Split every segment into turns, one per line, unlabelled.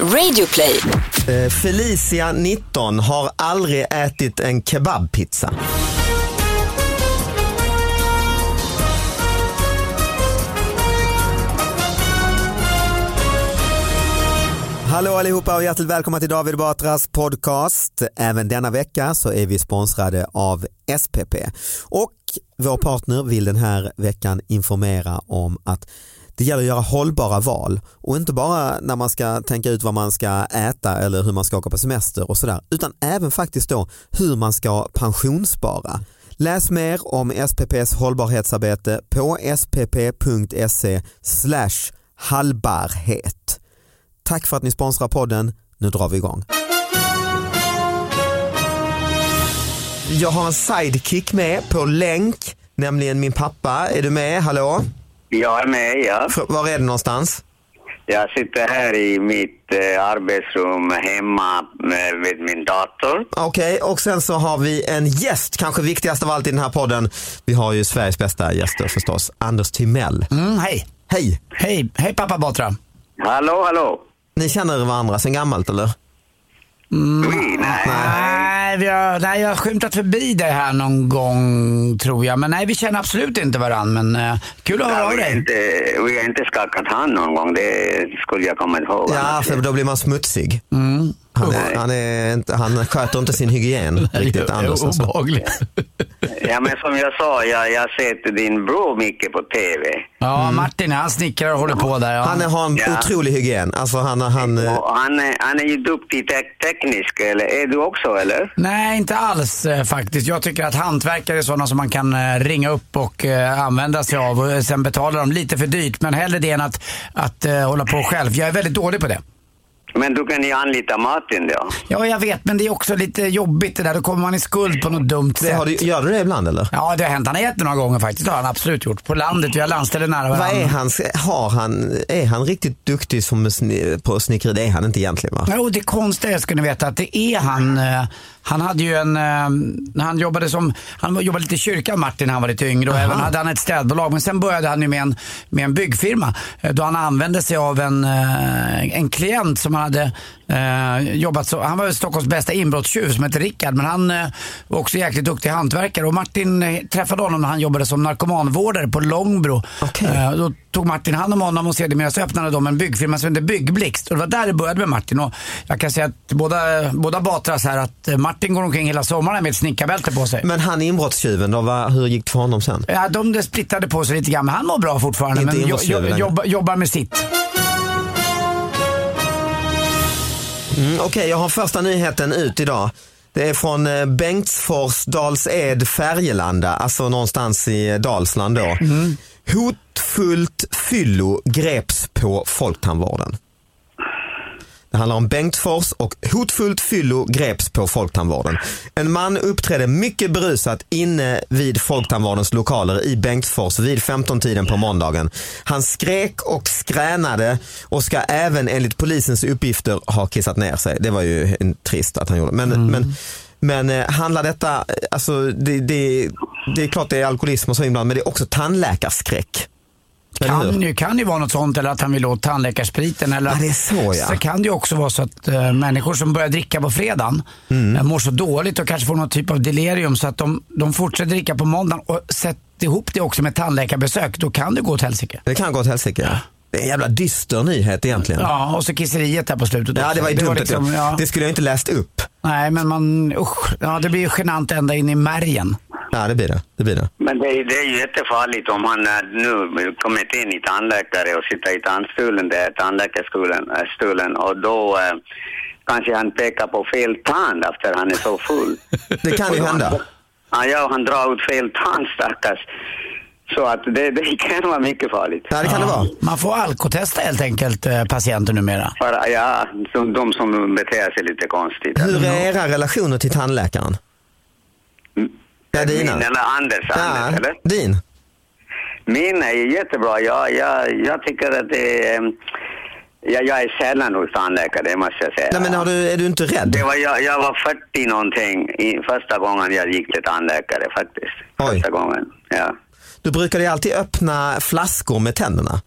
Radioplay.
Eh, Felicia, 19, har aldrig ätit en kebabpizza. Hallå allihopa och hjärtligt välkomna till David Batras podcast. Även denna vecka så är vi sponsrade av SPP. Och vår partner vill den här veckan informera om att det gäller att göra hållbara val och inte bara när man ska tänka ut vad man ska äta eller hur man ska åka på semester och sådär utan även faktiskt då hur man ska pensionsspara. Läs mer om SPPs hållbarhetsarbete på spp.se hallbarhet. Tack för att ni sponsrar podden. Nu drar vi igång. Jag har en sidekick med på länk, nämligen min pappa. Är du med? Hallå?
Jag är med, ja.
Fr- Var är du någonstans?
Jag sitter här i mitt eh, arbetsrum hemma med, med min dator.
Okej, och sen så har vi en gäst, kanske viktigast av allt i den här podden. Vi har ju Sveriges bästa gäster förstås, Anders Timell.
Mm, hej.
Hej!
hej! Hej pappa Batra.
Hallå, hallå!
Ni känner varandra sen gammalt eller?
Vi, nej.
Nej, vi har, nej, jag har skymtat förbi dig här någon gång tror jag. Men nej, vi känner absolut inte varandra. Men eh, kul att höra
Ja,
av
vi, har
dig.
inte, vi har inte skakat hand någon gång, det skulle jag komma ihåg. Alltså.
Ja, för då blir man smutsig.
Mm.
Han, är, han, är inte, han sköter inte sin hygien riktigt, Anders.
Oh. Det är
Alltså.
obehagligt.
Ja, men som jag sa, jag, jag har sett din bror mycket på TV.
Ja, Martin han snickrar och håller på där. Ja.
Mm. Han är- har en
Ja.
otrolig hygien. Alltså han, han, eh,
Och han, är- han är ju duktig te- teknisk, eller är du också, eller?
Nej, inte alls eh, faktiskt. Jag tycker att hantverkare är sådana som man kan eh, ringa upp och eh, använda sig av. Och eh, sen betala dem lite för dyrt. Men hellre det än att, att eh, hålla på själv. Jag är väldigt dålig på det.
Men du kan ju anlita Martin då.
Ja, jag vet, men det är också lite jobbigt det där. Då kommer man i skuld på något dumt
det
sätt.
har du, gör du det ibland eller?
Ja, det har hänt. Han har gett det några gånger faktiskt. Det har han absolut gjort. På landet, vi har landställen nära
Vad är
varandra.
hans, har han, är han riktigt duktig som sni, på snickeri? Det är han inte egentligen va?
Jo, det konstiga är, ska ni veta att det är han. eh, Han hade ju en, eh, när han jobbade som, han jobbade lite i kyrkan Martin när han var lite yngre och även hade han ett städbolag. Men sen började han ju med en, med en byggfirma eh, då han använde sig av en, eh, en klient som han hade eh, jobbat så, han var ju Stockholms bästa inbrottstjuv som hette Rickard men han eh, var också jäkligt duktig hantverkare och Martin eh, träffade honom när han jobbade som narkomanvårdare på Långbro.
Okej.
Eh, Eh, Då tog Martin hand om honom och sedermera så öppnade de en byggfirma som hette Byggblixt. Och det var där det började med Martin. Och jag kan säga att båda, båda Batras här, att eh, Martin går omkring hela sommaren med ett snickarbälte på sig.
Men han inbrottstjuven då, vad, hur gick det för honom sen?
Ja, de där splittade på sig lite grann, men han mår bra fortfarande.
Inte
men jo,
inbrottstjuv
jo,
längre.
jobba, jobbar med sitt.
Mm, Okej, jag har första nyheten ut idag. Det är från eh, Bengtsfors, Dals-Ed, Färgelanda, alltså någonstans i eh, Dalsland då. Hotfullt fyllo greps på Folktandvården. Det handlar om Bengtsfors och hotfullt fyllo greps på Folktandvården. En man uppträdde mycket berusat inne vid Folktandvårdens lokaler i Bengtsfors vid 15-tiden på måndagen. Han skrek och skränade och ska även enligt polisens uppgifter ha kissat ner sig. Det var ju en- trist att han gjorde. Men,
Mm.
men, men eh, handlar detta, eh, alltså det, det, det är klart det är alkoholism och så ibland men det är också tandläkarskräck. Eller hur?
Kan ju, kan ju vara något sånt eller att han vill åt tandläkarspriten. Eller
Ja,
att-
det är så, ja.
Så kan det ju också vara så att eh, människor som börjar dricka på fredagen
Mm.
eh, mår så dåligt och kanske får någon typ av delirium så att de, de fortsätter dricka på måndagen och sätt ihop det också med tandläkarbesök. Då kan det gå åt helsike.
Det kan gå åt helsike. ja. Det är en jävla dyster nyhet egentligen.
Ja, och så kisseriet där på slutet.
Ja,
också.
det var ju dumt. att
liksom,
jag-
ja,
Det skulle jag inte läst upp.
Nej, men man, usch, ja, det blir ju genant ända in i märgen.
Ja, det blir det. det, blir det.
Men det, är- det är ju jättefarligt om han eh, nu kommit in i tandläkare och sitter i tandstolen, där tandläkarstolen, eh, stolen, och då eh, kanske han pekar på fel tand efter han är så full.
Det kan ju hända.
Ja, ja, han drar ut fel tand stackars. Så att det, det kan vara mycket farligt.
Ja, det kan det vara.
Man får alkotesta helt enkelt eh, patienter numera.
För, ja, de, de som beter sig lite konstigt.
Hur är era relationer till tandläkaren? Ja,
Min
dina.
eller Anders, Anders,
Ja,
Mm. eller?
din.
Min är ju jättebra. Jag, jag, jag tycker att det är... ehm, Jag, jag är sällan hos tandläkare, det måste jag säga.
Nej, men har du, är du inte rädd?
Det var, jag, jag var 40 någonting i första gången jag gick till tandläkare faktiskt.
Oj.
Första gången, ja.
Du brukade ju alltid öppna flaskor med tänderna.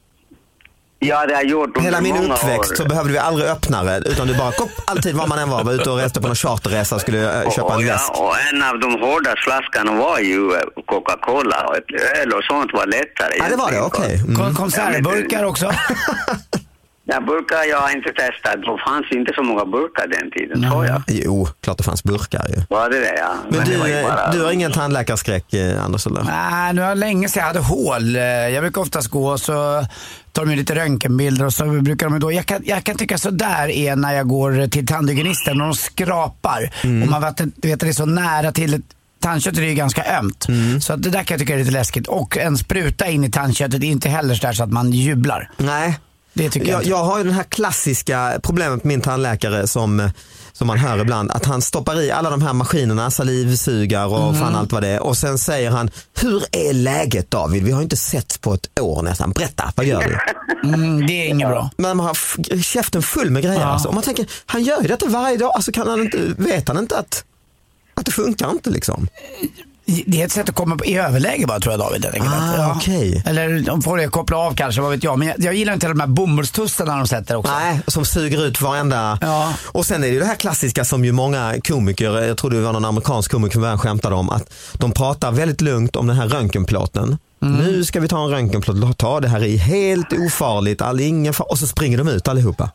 Ja, det har jag gjort under
Hela min
Mm, många
uppväxt
år.
så behövde vi aldrig öppnare utan du bara kopp, alltid var man än var, var ute och reste på någon charterresa och skulle eh, köpa
och,
en
ja,
väst.
och en av de hårda flaskorna var ju eh, Coca-Cola och ett öl och sånt var lättare.
Ja, det var det,
egentligen.
okej.
Kon-
Mm.
Konservburkar också.
Ja, burkar jag har inte testat. Då fanns ju inte så många burkar den tiden, tror jag.
Jo, klart det fanns burkar ju.
Var det det, ja.
Men,
det
du,
var ju
eh,
bara-
du har ingen tandläkarskräck eh, Anders eller?
Nej, nu har jag länge sedan jag hade hål. Eh, Jag brukar oftast gå och så tar de ju lite röntgenbilder och så brukar de ju då, jag kan, jag kan tycka sådär är när jag går till tandhygienisten och de skrapar.
Mm.
Och man vet, du vet det är så nära till ett Tandköttet är ju ganska ömt.
Mm.
Så att det där kan jag tycka är lite läskigt. Och en spruta in i tandköttet är inte heller sådär så att man jublar.
Nej.
Det tycker jag
Jag,
inte.
jag har ju den här klassiska problemet med min tandläkare som, som man hör ibland. Att han stoppar i alla de här maskinerna, salivsugar och
Mm.
fan allt vad det är. Och sen säger han, hur är läget David? Vi har ju inte sett på ett år nästan. Berätta, vad gör du?
Mm, det är inget bra.
Men man har f- käften full med grejer.
Ja.
Alltså. Och man tänker, han gör ju detta varje dag. Alltså kan han inte, vet han inte att, att det funkar inte liksom?
Det är ett sätt att komma i överläge bara tror jag David. helt enkelt.
Ah, okej.
Eller de får det koppla av kanske, vad vet jag. Men jag, jag gillar inte de här bomullstussarna de sätter också.
Nej, som suger ut varenda.
Ja.
Och sen är det ju det här klassiska som ju många komiker, jag tror det var någon amerikansk komiker som började skämtade om, att de pratar väldigt lugnt om den här röntgenplåten. Nu ska vi ta en röntgenplåt, låt ta det här i helt ofarligt, all, ingen far- och så springer de ut allihopa.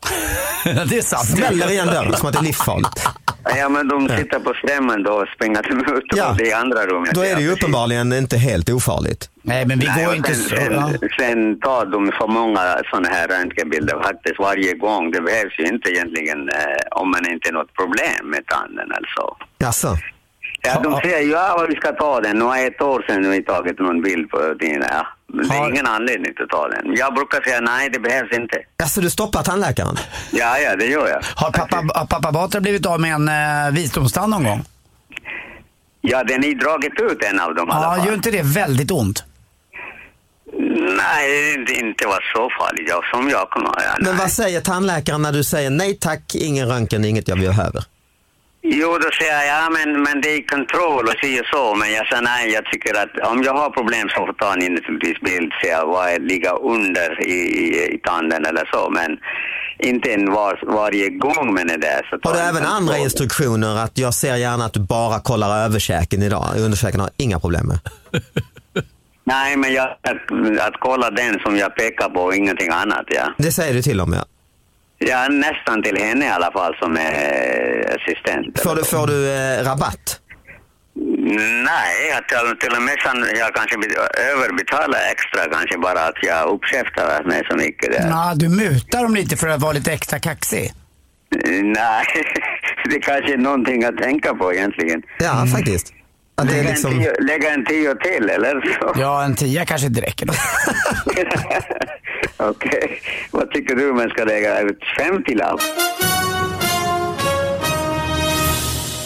det är sant.
Smäller igen dörren som att det är livsfarligt.
Ja, men de sitter på strömmen då och springer till ut
Ja.
och det är andra rummet.
Då är
ja,
det ju
precis.
uppenbarligen inte helt ofarligt.
Nej men vi
Nej,
går
och
inte
sen,
så.
sen,
Ja.
sen tar de för många sådana här röntgenbilder faktiskt varje gång. Det behövs ju inte egentligen eh, om man inte har något problem med tanden alltså.
Alltså.
Ja,
Ja.
de säger ju ja, vi ska ta den. Nu är ett år sedan vi tagit någon bild på din. Ja. Men det
Har-
är ingen anledning att ta den. Jag brukar säga nej, det behövs inte.
Alltså du stoppar tandläkaren?
Ja, ja, det gör jag.
Har pappa, har pappa Batra blivit av med en eh, visdomstand någon gång?
Ja, den är dragit ut en av dem i alla
Ja,
fall.
gör inte det väldigt ont?
Nej, det inte var så farligt jag, som jag kommer ihåg. Ja,
Men
nej.
vad säger tandläkaren när du säger nej tack, ingen röntgen, inget jag behöver?
Jo, då säger jag, ja men, men det är kontroll och si och så. Men jag säger nej, jag tycker att om jag har problem så får ta en naturligtvis bild, ser jag vad jag ligger under i, i, i tanden eller så. Men inte en var, varje gång man är där. Så tar
Har du
jag
även
kontroll.
andra instruktioner att jag ser gärna att du bara kollar överkäken idag? Underkäken har inga problem med.
Nej, men jag, att, att kolla den som jag pekar på och ingenting annat, ja.
Det säger du till och med.
Ja, nästan till henne i alla fall som är assistent.
Får du, får du eh, rabatt?
Nej, jag till, till och med sen, jag kanske bet- överbetalar extra kanske bara att jag uppkäftar mig så mycket
Eh.
där.
Ja, du mutar dem lite för att vara lite extra kaxig.
Nej, det kanske är någonting att tänka på egentligen.
Ja, faktiskt. Att Mm. det är
Lägga,
liksom,
en tio, lägga en tio till eller så.
Ja, en tia kanske inte räcker. då.
Okej, vad tycker du man ska lägga ut? 50 lapp?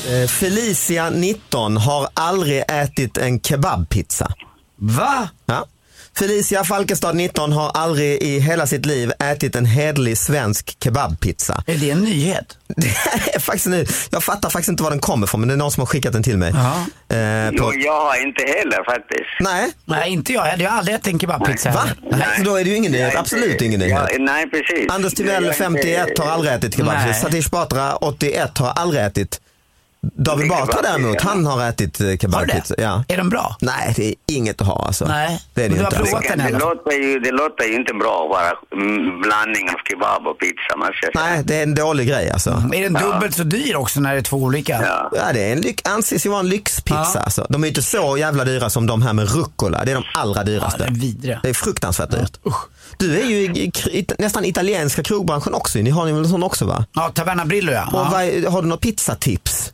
eh, Felicia 19 har aldrig ätit en kebabpizza.
Va?
Ja. Felicia Falkestad 19 har aldrig i hela sitt liv ätit en hederlig svensk kebabpizza.
Är det en nyhet?
Det är faktiskt nu, jag fattar faktiskt inte var den kommer ifrån men det är någon som har skickat den till mig.
Ja.
Eh, på,
Jo, jag har inte heller faktiskt.
nej,
Nej, inte jag heller. Jag har aldrig ätit en kebabpizza
Va?
heller.
Nej. Så då är det ju ingen
Jag
nyhet,
är
absolut
inte-
ingen
jag-
nyhet.
Nej, precis.
Anders
Jag
Timell,
är
51,
inte-
har aldrig ätit
Nej.
kebabpizza. Satish Batra, 81, har aldrig ätit. David
Det är
Batra
kebabpizza.
däremot, han har ätit eh,
Har du
kebabpizza.
det?
Ja.
Är den bra?
Nej, det är inget att ha alltså.
Nej.
Det är det
Men
ju
du har
inte.
provat?
Alltså.
den i
det,
alla fall.
låter ju, det låter ju inte bra att vara mm, blandning av kebab och pizza. Man ska säga.
Nej, det är en dålig grej alltså.
Är den dubbelt så dyr också när det är två olika?
Ja.
Ja, det är en lyx, anses ju vara en lyxpizza.
Ja.
Alltså. De är ju inte så jävla dyra som de här med rucola. Det är de allra
Ja,
dyraste.
den är vidriga.
det är fruktansvärt dyrt. Du är ju i, i, i, nästan italienska krogbranschen också. Ni har ni väl en sån också va?
Ja, Taverna Brillo ja.
Och
ja.
vad, har du något pizzatips?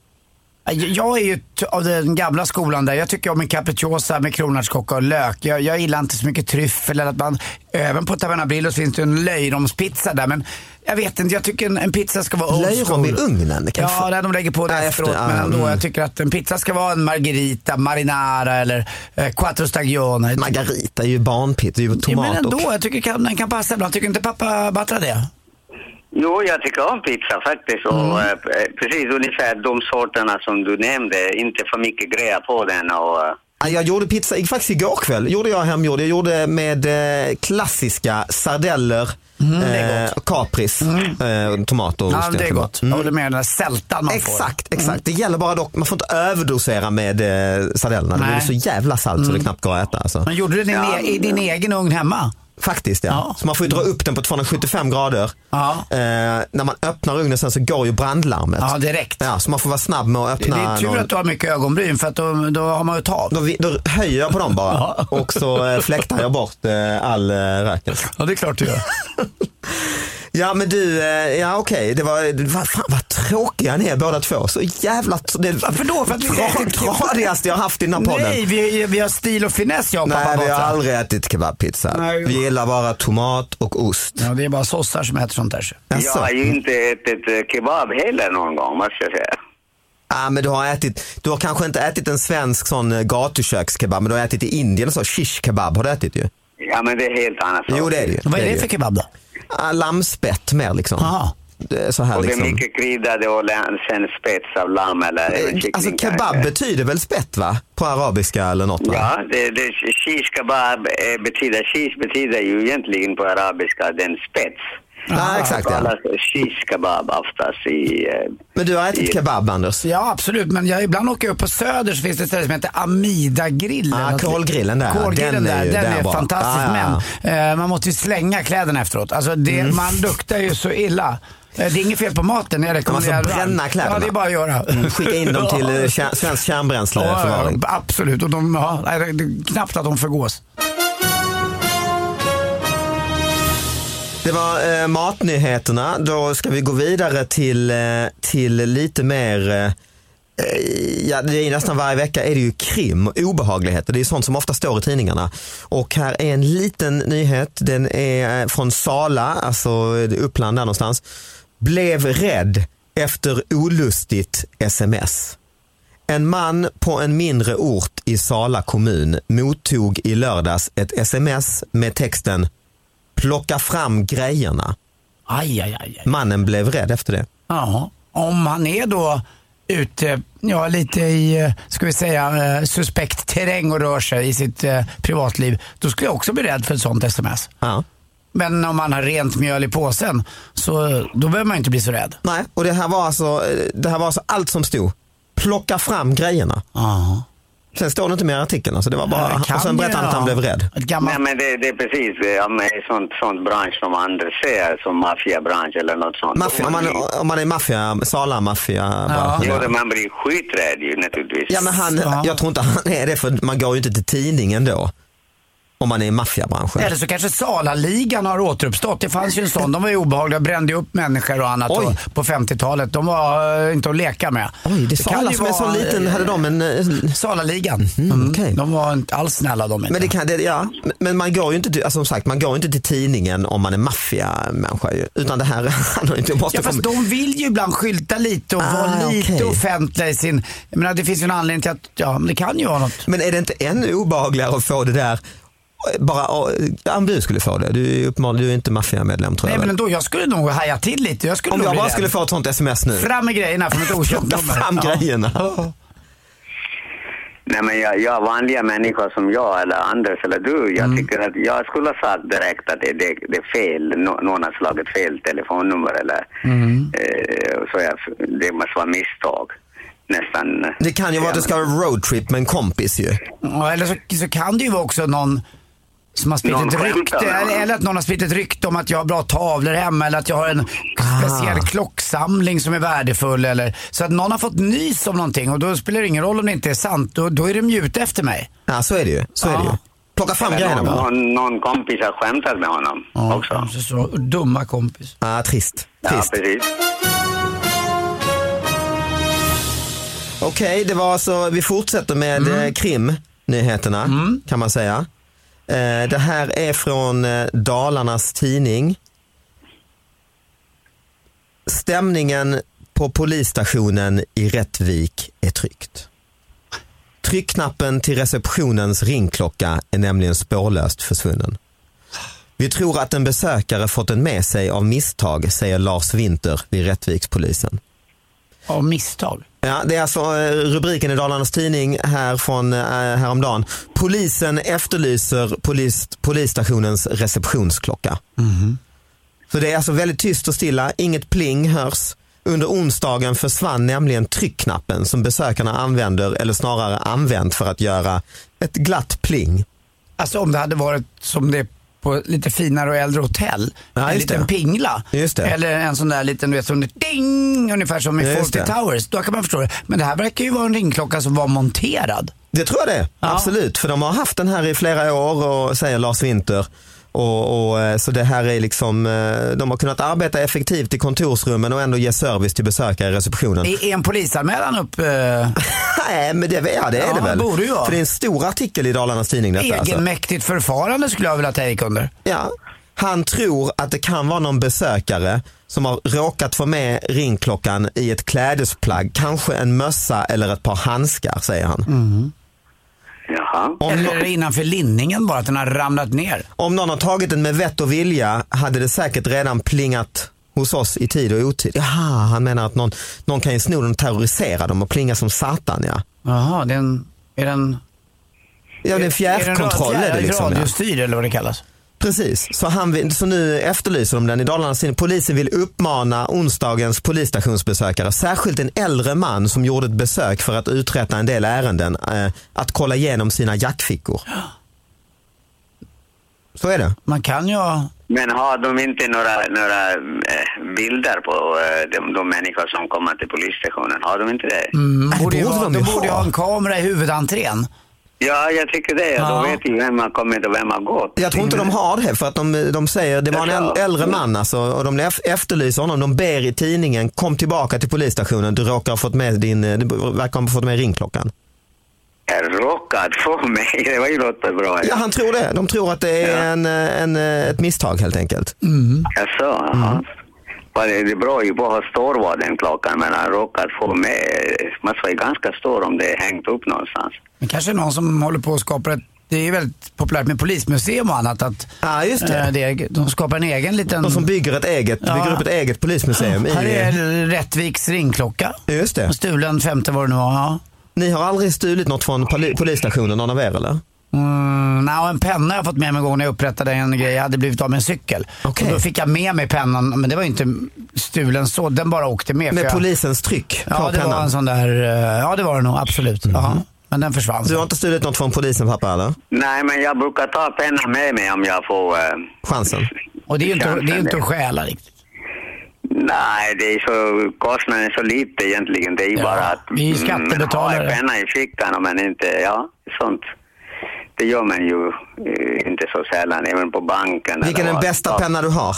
Äh, Jag är ju t- av den gamla skolan där. Jag tycker om en capricciosa med kronärtskocka och lök. Jag, jag gillar inte så mycket tryffel eller att man, även på Taverna Brillo så finns det en löjromspizza där. Men jag vet inte, jag tycker en, en pizza ska vara old
Löjrom
school.
i ugnen? Kan
Ja, där de lägger på det
Ja,
efteråt.
efter, ja,
men ändå,
mm.
jag tycker att en pizza ska vara en margherita, marinara eller eh, quattro stagione.
Margarita är ju barnpizza, det är ju
Ja,
tomat
men ändå,
och...
jag tycker kan, den kan passa ibland. Tycker inte pappa Batra det?
Jo, jag tycker om pizza faktiskt. Och,
Mm.
eh, precis ungefär de sorterna som du nämnde. Inte för mycket grejer på den. Och, eh,
Ja, Jag gjorde pizza i- faktiskt igår kväll. Gjorde jag hemgjord. Jag gjorde med eh, klassiska sardeller,
Mm,
eh, kapris, eh, tomater och
Ja,
ost
det är
egentligen.
gott. Jag håller med den där sältan man får.
Mm.
Mm.
Exakt, exakt. Det gäller bara dock, man får inte överdosera med eh, sardellerna. Det
Nej. Mm.
blir så jävla salt så det knappt går att äta. Alltså.
Men gjorde du din,
Ja,
e- i din egen ugn hemma?
Faktiskt ja.
Ja. Mm.
Så man får ju dra upp den på 275 grader.
Ja.
Eh, när man öppnar ugnen sen så går ju brandlarmet.
Ja, direkt.
Ja, så man får vara snabb med att
Det
öppna.
är tur
någon-
att du har mycket ögonbryn för att då, då har man ju tag.
då, vi- då höjer jag på dem bara
Ja.
och så eh, fläktar jag bort eh, all eh, röken.
Ja, det är klart du gör.
Ja men du, eh, ja okej, det var, det var, fan vad tråkiga ni är båda två. Så jävla, tr- det
Varför då? För att vi-
tra- tradigaste jag haft i den här podden.
Nej, vi, vi har stil och finess jag och pappa
Nej, vi har
Batra.
aldrig ätit kebabpizza.
Nej.
Vi gillar bara tomat och ost.
Ja, det är bara sossar som äter sånt där.
Jaså? Mm.
Jag har ju inte ätit eh, kebab heller någon gång, måste jag säga.
Ah, men du, har ätit, du har kanske inte ätit en svensk sån eh, gatukökskebab, men du har ätit i Indien och så. Shish kebab har du ätit ju.
Ja, men det är helt annat.
Jo, det är det ju.
Vad är
ju.
det för kebab då?
Ah, lammspett mer liksom.
Aha.
Det är så här
Och det är
liksom.
mycket kryddade och lä- sen spets av lamm eller kyckling.
Alltså
kanske.
kebab betyder väl spett va? På arabiska eller något va?
Ja, det, det, shish kebab eh, betyder, shish betyder ju egentligen på arabiska den spets.
Ja, exakt,
Det
ja.
kallas shish kebab oftast i... eh,
Men du har ätit kebab Anders?
Ja, absolut. Men jag, ibland åker jag upp på Söder så finns det ett ställe som heter Amida-grillen.
Ah,
Något-
kolgrillen där, ja.
Kolgrillen
Den är
där,
ju-
den
den
är,
är bra.
fantastisk.
Ah, ja, Mm.
Men eh, man måste ju slänga kläderna efteråt. Alltså, det, man luktar ju så illa. Eh, Det är inget fel på maten, jag rekommenderar
Man får
varmt.
bränna kläderna.
Ja, det är bara att göra.
Skicka in dem till eh,
Ja.
kär, Svensk
Ja,
kärnbränsleförvaring.
ja, absolut. Och de, ja, nej, det är knappt att de förgås.
Det var eh, matnyheterna. Då ska vi gå vidare till, eh, till lite mer eh, Ja, det är nästan varje vecka är det ju krim och obehagligheter. Det är sånt som ofta står i tidningarna. Och här är en liten nyhet. Den är eh, från Sala, alltså eh, Uppland där någonstans. Blev rädd efter olustigt sms. En man på en mindre ort i Sala kommun mottog i lördags ett sms med texten plocka fram grejerna.
Aj, aj, aj. aj.
Mannen blev rädd efter det.
Ja, om han är då ute, ja lite i, eh, ska vi säga, eh, suspekt terräng och rör sig i sitt eh, privatliv, då skulle jag också bli rädd för ett sånt sms.
Ja.
Men om man har rent mjöl i påsen, så eh, då behöver man ju inte bli så rädd.
Nej, och det här var alltså, eh, det här var alltså allt som stod. Plocka fram grejerna.
Ja.
Sen står det inte mer i artikeln. Alltså det var bara,
Kan
och sen berättade han
ju,
att han
ja.
blev rädd.
Ett gammalt...
Nej men det, det är precis, det är med sånt, sånt bransch som Anders säger, som maffiabransch eller något sånt.
Maffia, om, man,
blir-
om man är maffia, Sala-maffia. bara.
Jo, det- man blir skiträdd ju naturligtvis.
Ja, men han,
Ja.
jag tror inte han är det för man går ju inte till tidningen då. Om man är i maffiabranschen.
Eller så kanske Salaligan har återuppstått. Det fanns ju en sån. De var ju obehagliga, brände ju upp människor och annat
Oj.
och- på 50-talet. De var eh, inte att leka med.
Oj, det är
kan
Sala
ju
som är så
vara-
liten. Hade de en... eh,
Salaligan.
okej.
Mm. De var inte alls snälla de inte.
Men, det kan, det, ja. men man går ju inte till, alltså, som sagt, man går ju inte till tidningen om man är maffiamänniska. ju. Utan det här, han har ju inte måste
Ja fast de vill ju ibland skylta lite och
Ah,
vara lite
okej.
offentliga i sin... Jag menar det finns ju en anledning till att, ja men det kan ju vara något.
Men är det inte ännu obehagligare att få det där, bara ja, om du skulle få det, du är ju uppenbarligen du är inte maffiamedlem tror
Nej
jag.
men
väl.
ändå, jag skulle nog haja till lite. Jag skulle
om
nog
jag
bli
bara
rädd.
skulle få ett sånt sms nu,
Fram med grejerna från ett okänt
plocka
nummer.
fram
Ja.
grejerna.
Nej men jag, jag vanliga människor som jag eller Anders eller du,
Mm.
jag tycker att jag skulle ha sagt direkt att det, det, det är fel, Nå, någon har slagit fel telefonnummer eller
Mm.
eh, så jag, det måste vara misstag nästan.
Det kan ju vara att du ska ha en roadtrip med en kompis ju.
Ja, eller så, så kan det ju vara också någon som har spritt
Någon
ett
skämtar
rykte.
med
Eller,
honom.
eller att någon har spritt ett rykte om att jag har bra tavlor hemma eller att jag har en
Ah.
speciell klocksamling som är värdefull. Eller, så att någon har fått nys om någonting och då spelar det ingen roll om det inte är sant. Då, då är de ju ute efter mig.
Ja så är det ju. Så är det ju.
Ja.
Plocka fram
Eller
grejerna
någon,
bara.
någon, någon kompis har skämtat med honom också.
Så, så, dumma kompis.
Ja, trist.
Ja,
trist.
precis.
Okej, det var alltså, vi fortsätter med mm. krimnyheterna kan man säga. Eh, Det här är från eh, Dalarnas tidning. Stämningen på polisstationen i Rättvik är tryckt. Tryckknappen till receptionens ringklocka är nämligen spårlöst försvunnen. Vi tror att en besökare fått den med sig av misstag, säger Lars Winter vid Rättvikspolisen.
Av misstag.
Ja, det är alltså eh, rubriken i Dalarnas Tidning här från eh, häromdagen. Polisen efterlyser polis, polisstationens receptionsklocka. Så det är alltså väldigt tyst och stilla, inget pling hörs. Under onsdagen försvann nämligen tryckknappen som besökarna använder, eller snarare använt för att göra ett glatt pling.
Alltså om det hade varit som det är på lite finare och äldre hotell.
Ja,
en
just
liten
det.
pingla.
Just det.
Eller en sån där liten, du vet, som det ding, ungefär som i
Ja, just
Fawlty
det.
Towers. Då kan man förstå det. Men det här verkar ju vara en ringklocka som var monterad.
Det tror jag det, absolut. För de har haft den här i flera år, och, säger Lars Winter. Och, och, eh, så det här är liksom, eh, de har kunnat arbeta effektivt i kontorsrummen och ändå ge service till besökare i receptionen.
Är är en polisanmälan upp eh,
Nej, men det, ja, det är
Ja,
det väl.
borde ju vara.
För det är en stor artikel i Dalarnas Tidning detta. Alltså.
egenmäktigt förfarande skulle jag vilja att jag gick under.
Ja. Han tror att det kan vara någon besökare som har råkat få med ringklockan i ett klädesplagg, kanske en mössa eller ett par handskar säger han.
Jaha.
Om,
Mm. Eller
no-
är det innanför linningen bara, att den har ramlat ner.
om någon har tagit den med vett och vilja hade det säkert redan plingat hos oss i tid och otid. Jaha, han menar att någon, någon kan ju sno den och terrorisera dem och plinga som satan ja.
Jaha, det är en... Är den,
Ja, det är en fjärrkontroll är det liksom. ja.
Radiostyr eller vad det kallas.
Precis, så, han vill, så nu efterlyser de den i Dalarnas Tidning. Polisen vill uppmana onsdagens polisstationsbesökare, särskilt en äldre man som gjorde ett besök för att uträtta en del ärenden, eh, att kolla igenom sina jackfickor. Så är det.
Man kan ju ha...
Men har de inte några, några eh, bilder på eh, de, de människor som kommer till polisstationen? Har de inte det?
Mm,
det
borde ju
borde
ha,
de ju
de borde ju
ha.
ha en kamera i huvudentrén.
Ja, jag tycker det.
Ja.
Då vet ju vem har kommit och vem har gått.
Jag tror inte de har det för att de, de säger, det var en äl- äldre man alltså och de ef- efterlyser honom. De ber i tidningen, kom tillbaka till polisstationen, du råkar ha fått med din, eh, du verkar ha fått med ringklockan.
Jag råkat få mig. Det var ju något bra.
Ja, han tror det. De tror att det är
Ja.
en, eh, en, eh, ett misstag helt enkelt.
Mm.
Jaså, jaha. Vad det- Det beror ju på hur stor var den klockan, men han råkat få med. Man ska ju ganska stor om det är hängt upp någonstans.
Men kanske är någon som håller på och skapar ett... Det är ju väldigt populärt med polismuseum och annat att
Ja, just det.
eh, det, de skapar en egen liten...
De som bygger ett eget,
Ja.
bygger upp ett eget polismuseum.
Här
I,
är Rättviks ringklocka.
just det.
Stulen femte vad det nu var. Ja.
Ni har aldrig stulit något från poli- polisstationen, någon av er eller?
Mm, nej, och en penna har jag fått med mig en gång när jag upprättade en grej. Jag hade blivit av med en cykel.
Okej.
Och då fick jag med mig pennan, men det var ju inte stulen så. Den bara åkte med. för
Med
jag,
polisens tryck på
ja, det var
pennan? Mm.
en sån där, eh, ja det var det nog, absolut. Ja, men den försvann.
Du har inte stulit något från polisen pappa eller?
Nej, men jag brukar ta pennan med mig om jag får... eh,
Chansen?
Och det är ju inte, det är ju inte
chansen.
att stjäla riktigt.
Nej, det är så, kostnaden är så lite egentligen. Det är ju
Ja,
bara att
vi är skattebetalare.
mm, ha en penna i fickan, men inte, ja, sånt. Det gör man ju eh, inte så sällan, även på banken. eller
Vilken är den
vad.
bästa penna du har?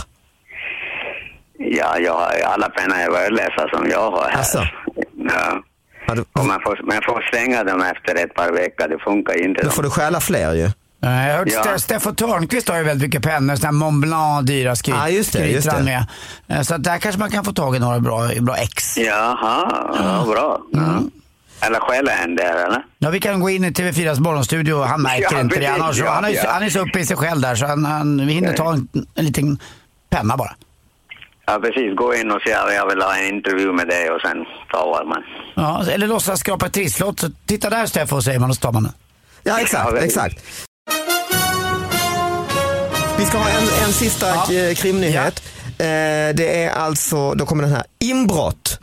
Ja, jag har alla pennor är värdelösa som jag har här.
Asså?
Ja.
Ja, du,
Och man, får, man får slänga dem efter ett par veckor, det funkar ju inte.
då får du stjäla fler ju.
Nej, Jag har hört
Ja.
Ste- Steffan Törnqvist har ju väldigt mycket pennor, sådana här Mont Blanc dyra skryt,
Ja, just det,
skryter
just det.
han med. Eh, Så att där kanske man kan få tag i några bra, bra ex.
Jaha, ja, bra. Eller skälla en där, eller?
Ja, vi kan gå in i TV4s morgonstudio. Han märker
Ja,
inte det. Han, har så,
ja,
han, är, ju-
ja.
han är så uppe i sig själv där så han, han vi hinner ta en, en liten penna bara.
Ja, precis. Gå in och säg att jag vill ha en intervju med dig och sen tar man.
Ja, eller låtsas skrapa ett trisslott. Så titta där Steffo säger man och så tar man den.
Ja
Ja,
exakt,
det-
exakt. Vi ska ha en, en sista
Ja.
eh, krimnyhet. Eh, Det är alltså, då kommer den här, inbrott.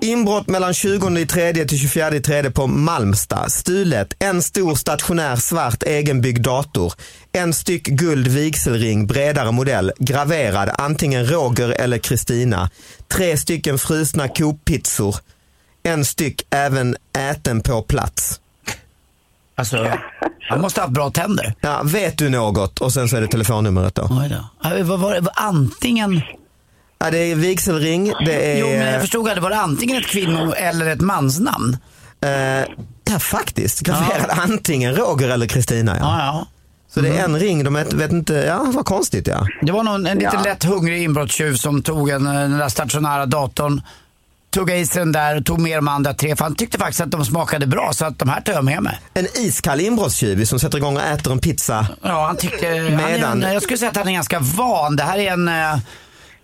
Inbrott mellan 20 i tredje till 24 i tredje på Malmstad. Stulet, en stor stationär svart egenbyggd dator. En styck guld vigselring, bredare modell, graverad, antingen Roger eller Kristina. Tre stycken frusna kopizzor. En styck även äten på plats.
Alltså, han måste ha haft bra tänder.
Ja, vet du något? Och sen så är det telefonnumret då.
Oj då. Eh, Vad var det? Var Antingen...
Ja, det är vigselring, det är...
Jo, men jag förstod att det var antingen ett kvinno eller ett mansnamn.
eh, ja, faktiskt. Graverad antingen Roger eller Kristina. Ja.
Ja, Mm. ja.
Så det är en ring, de vet, vet inte, ja vad konstigt ja.
Det var någon, en lite
Ja.
lätt hungrig inbrottstjuv som tog en, eh, den där stationära datorn, tuggade i sig den där och tog med de andra tre. För han tyckte faktiskt att de smakade bra så att de här tar jag med mig.
En iskall inbrottstjuv som sätter igång och äter en pizza.
Ja, han tyckte... Han är
Medan-
en, jag skulle säga att han är ganska van. Det här är en... eh,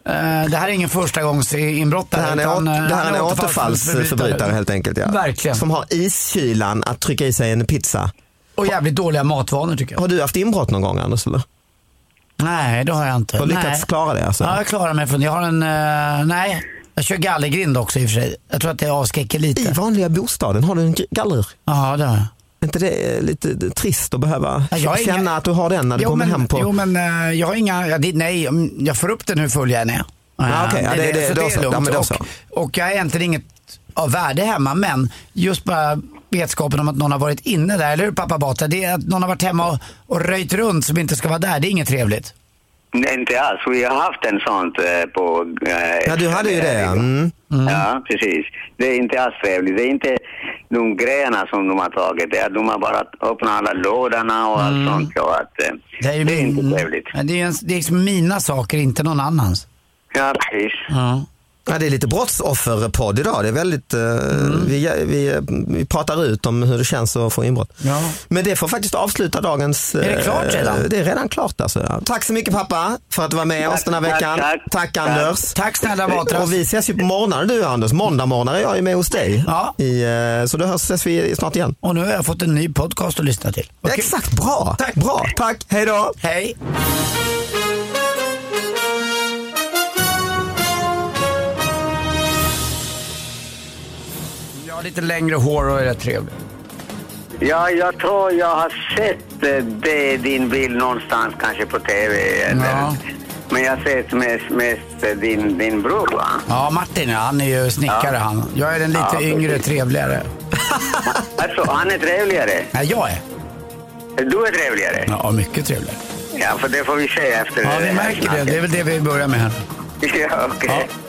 Eh, Det här är ingen första gångs
Det
inbrottare.
här är, åt,
utan,
det
eh,
här är en återfallsförbrytare helt enkelt. Ja.
Verkligen.
Som har iskylan att trycka i sig en pizza.
Och jävligt dåliga matvanor tycker jag.
Har du haft inbrott någon gång Anders? Eller?
Nej, det har jag inte.
Du har
nej.
lyckats klara det alltså?
Ja, jag klarar mig från det. Jag har en, eh, nej, jag kör gallergrind också i och för sig. Jag tror att det avskräcker
I
lite.
vanliga bostaden har du en galler.
Ja, det har jag.
Är inte det eh, lite eh, trist att behöva
Ja, jag är
känna
inga-
att du har den när du kommer
men,
hem på...
jo, men eh, jag har inga, ja, det, nej, om jag får upp den hur full jag än är.
Ja,
Eh,
okej, ja, det- det-
så
då så. Ja,
lugnt.
men då så.
och, och jag är egentligen inget av värde hemma, men just bara vetskapen om att någon har varit inne där, eller hur pappa Bata? Det är att någon har varit hemma och, och röjt runt som inte ska vara där, det är inget trevligt.
Nej, inte alls. Vi har haft en sånt eh, på... eh,
Ja, du hade ju det. ja. Mm.
Ja, precis. Det är inte alls trevligt. Det är inte de grejerna som de har tagit. Det är att de har bara öppnat alla lådorna och allt sånt. Och att, eh,
Mm. ju
det är
min-
inte trevligt.
Ja, Det är, en, det är liksom mina saker, inte någon annans.
Ja, precis.
Ja.
Ja, det är lite brottsofferpodd idag. Det är väldigt, eh,
Mm.
vi, vi, eh, vi pratar ut om hur det känns att få inbrott.
Ja.
Men det får faktiskt avsluta dagens...
Är det klart
eh,
redan?
Det är redan klart alltså. ja. Tack så mycket pappa för att du var med
Tack,
oss den här
tack,
veckan.
tack. Tack.
Anders.
Tack snälla Batra.
Och vi ses ju på morgonen du Anders. Måndag morgon är jag ju med hos dig.
Ja.
I, eh, så då hörs, ses vi snart igen.
Och nu har jag fått en ny podcast att lyssna till. Vad kul.
Exakt, bra.
Tack.
Bra, tack. Hej då.
Hej! Ja, lite längre hår och är rätt trevligt.
Ja, jag tror jag har sett eh, det, din bild någonstans, kanske på TV. Eller,
Ja.
Men jag har sett mest, mest eh, din, din bror, va?
Ja, Martin ja, han är ju snickare
Ja.
han. Jag är den lite
Ja, precis.
yngre, trevligare.
Alltså, han är trevligare.
Nej, jag är.
Du är trevligare.
Ja, mycket trevligare.
Ja, för det får vi se efter
Ja,
det
vi
här
märker det.
snacket.
Det är väl det vi börjar med här.
Ja, okej.
Ja,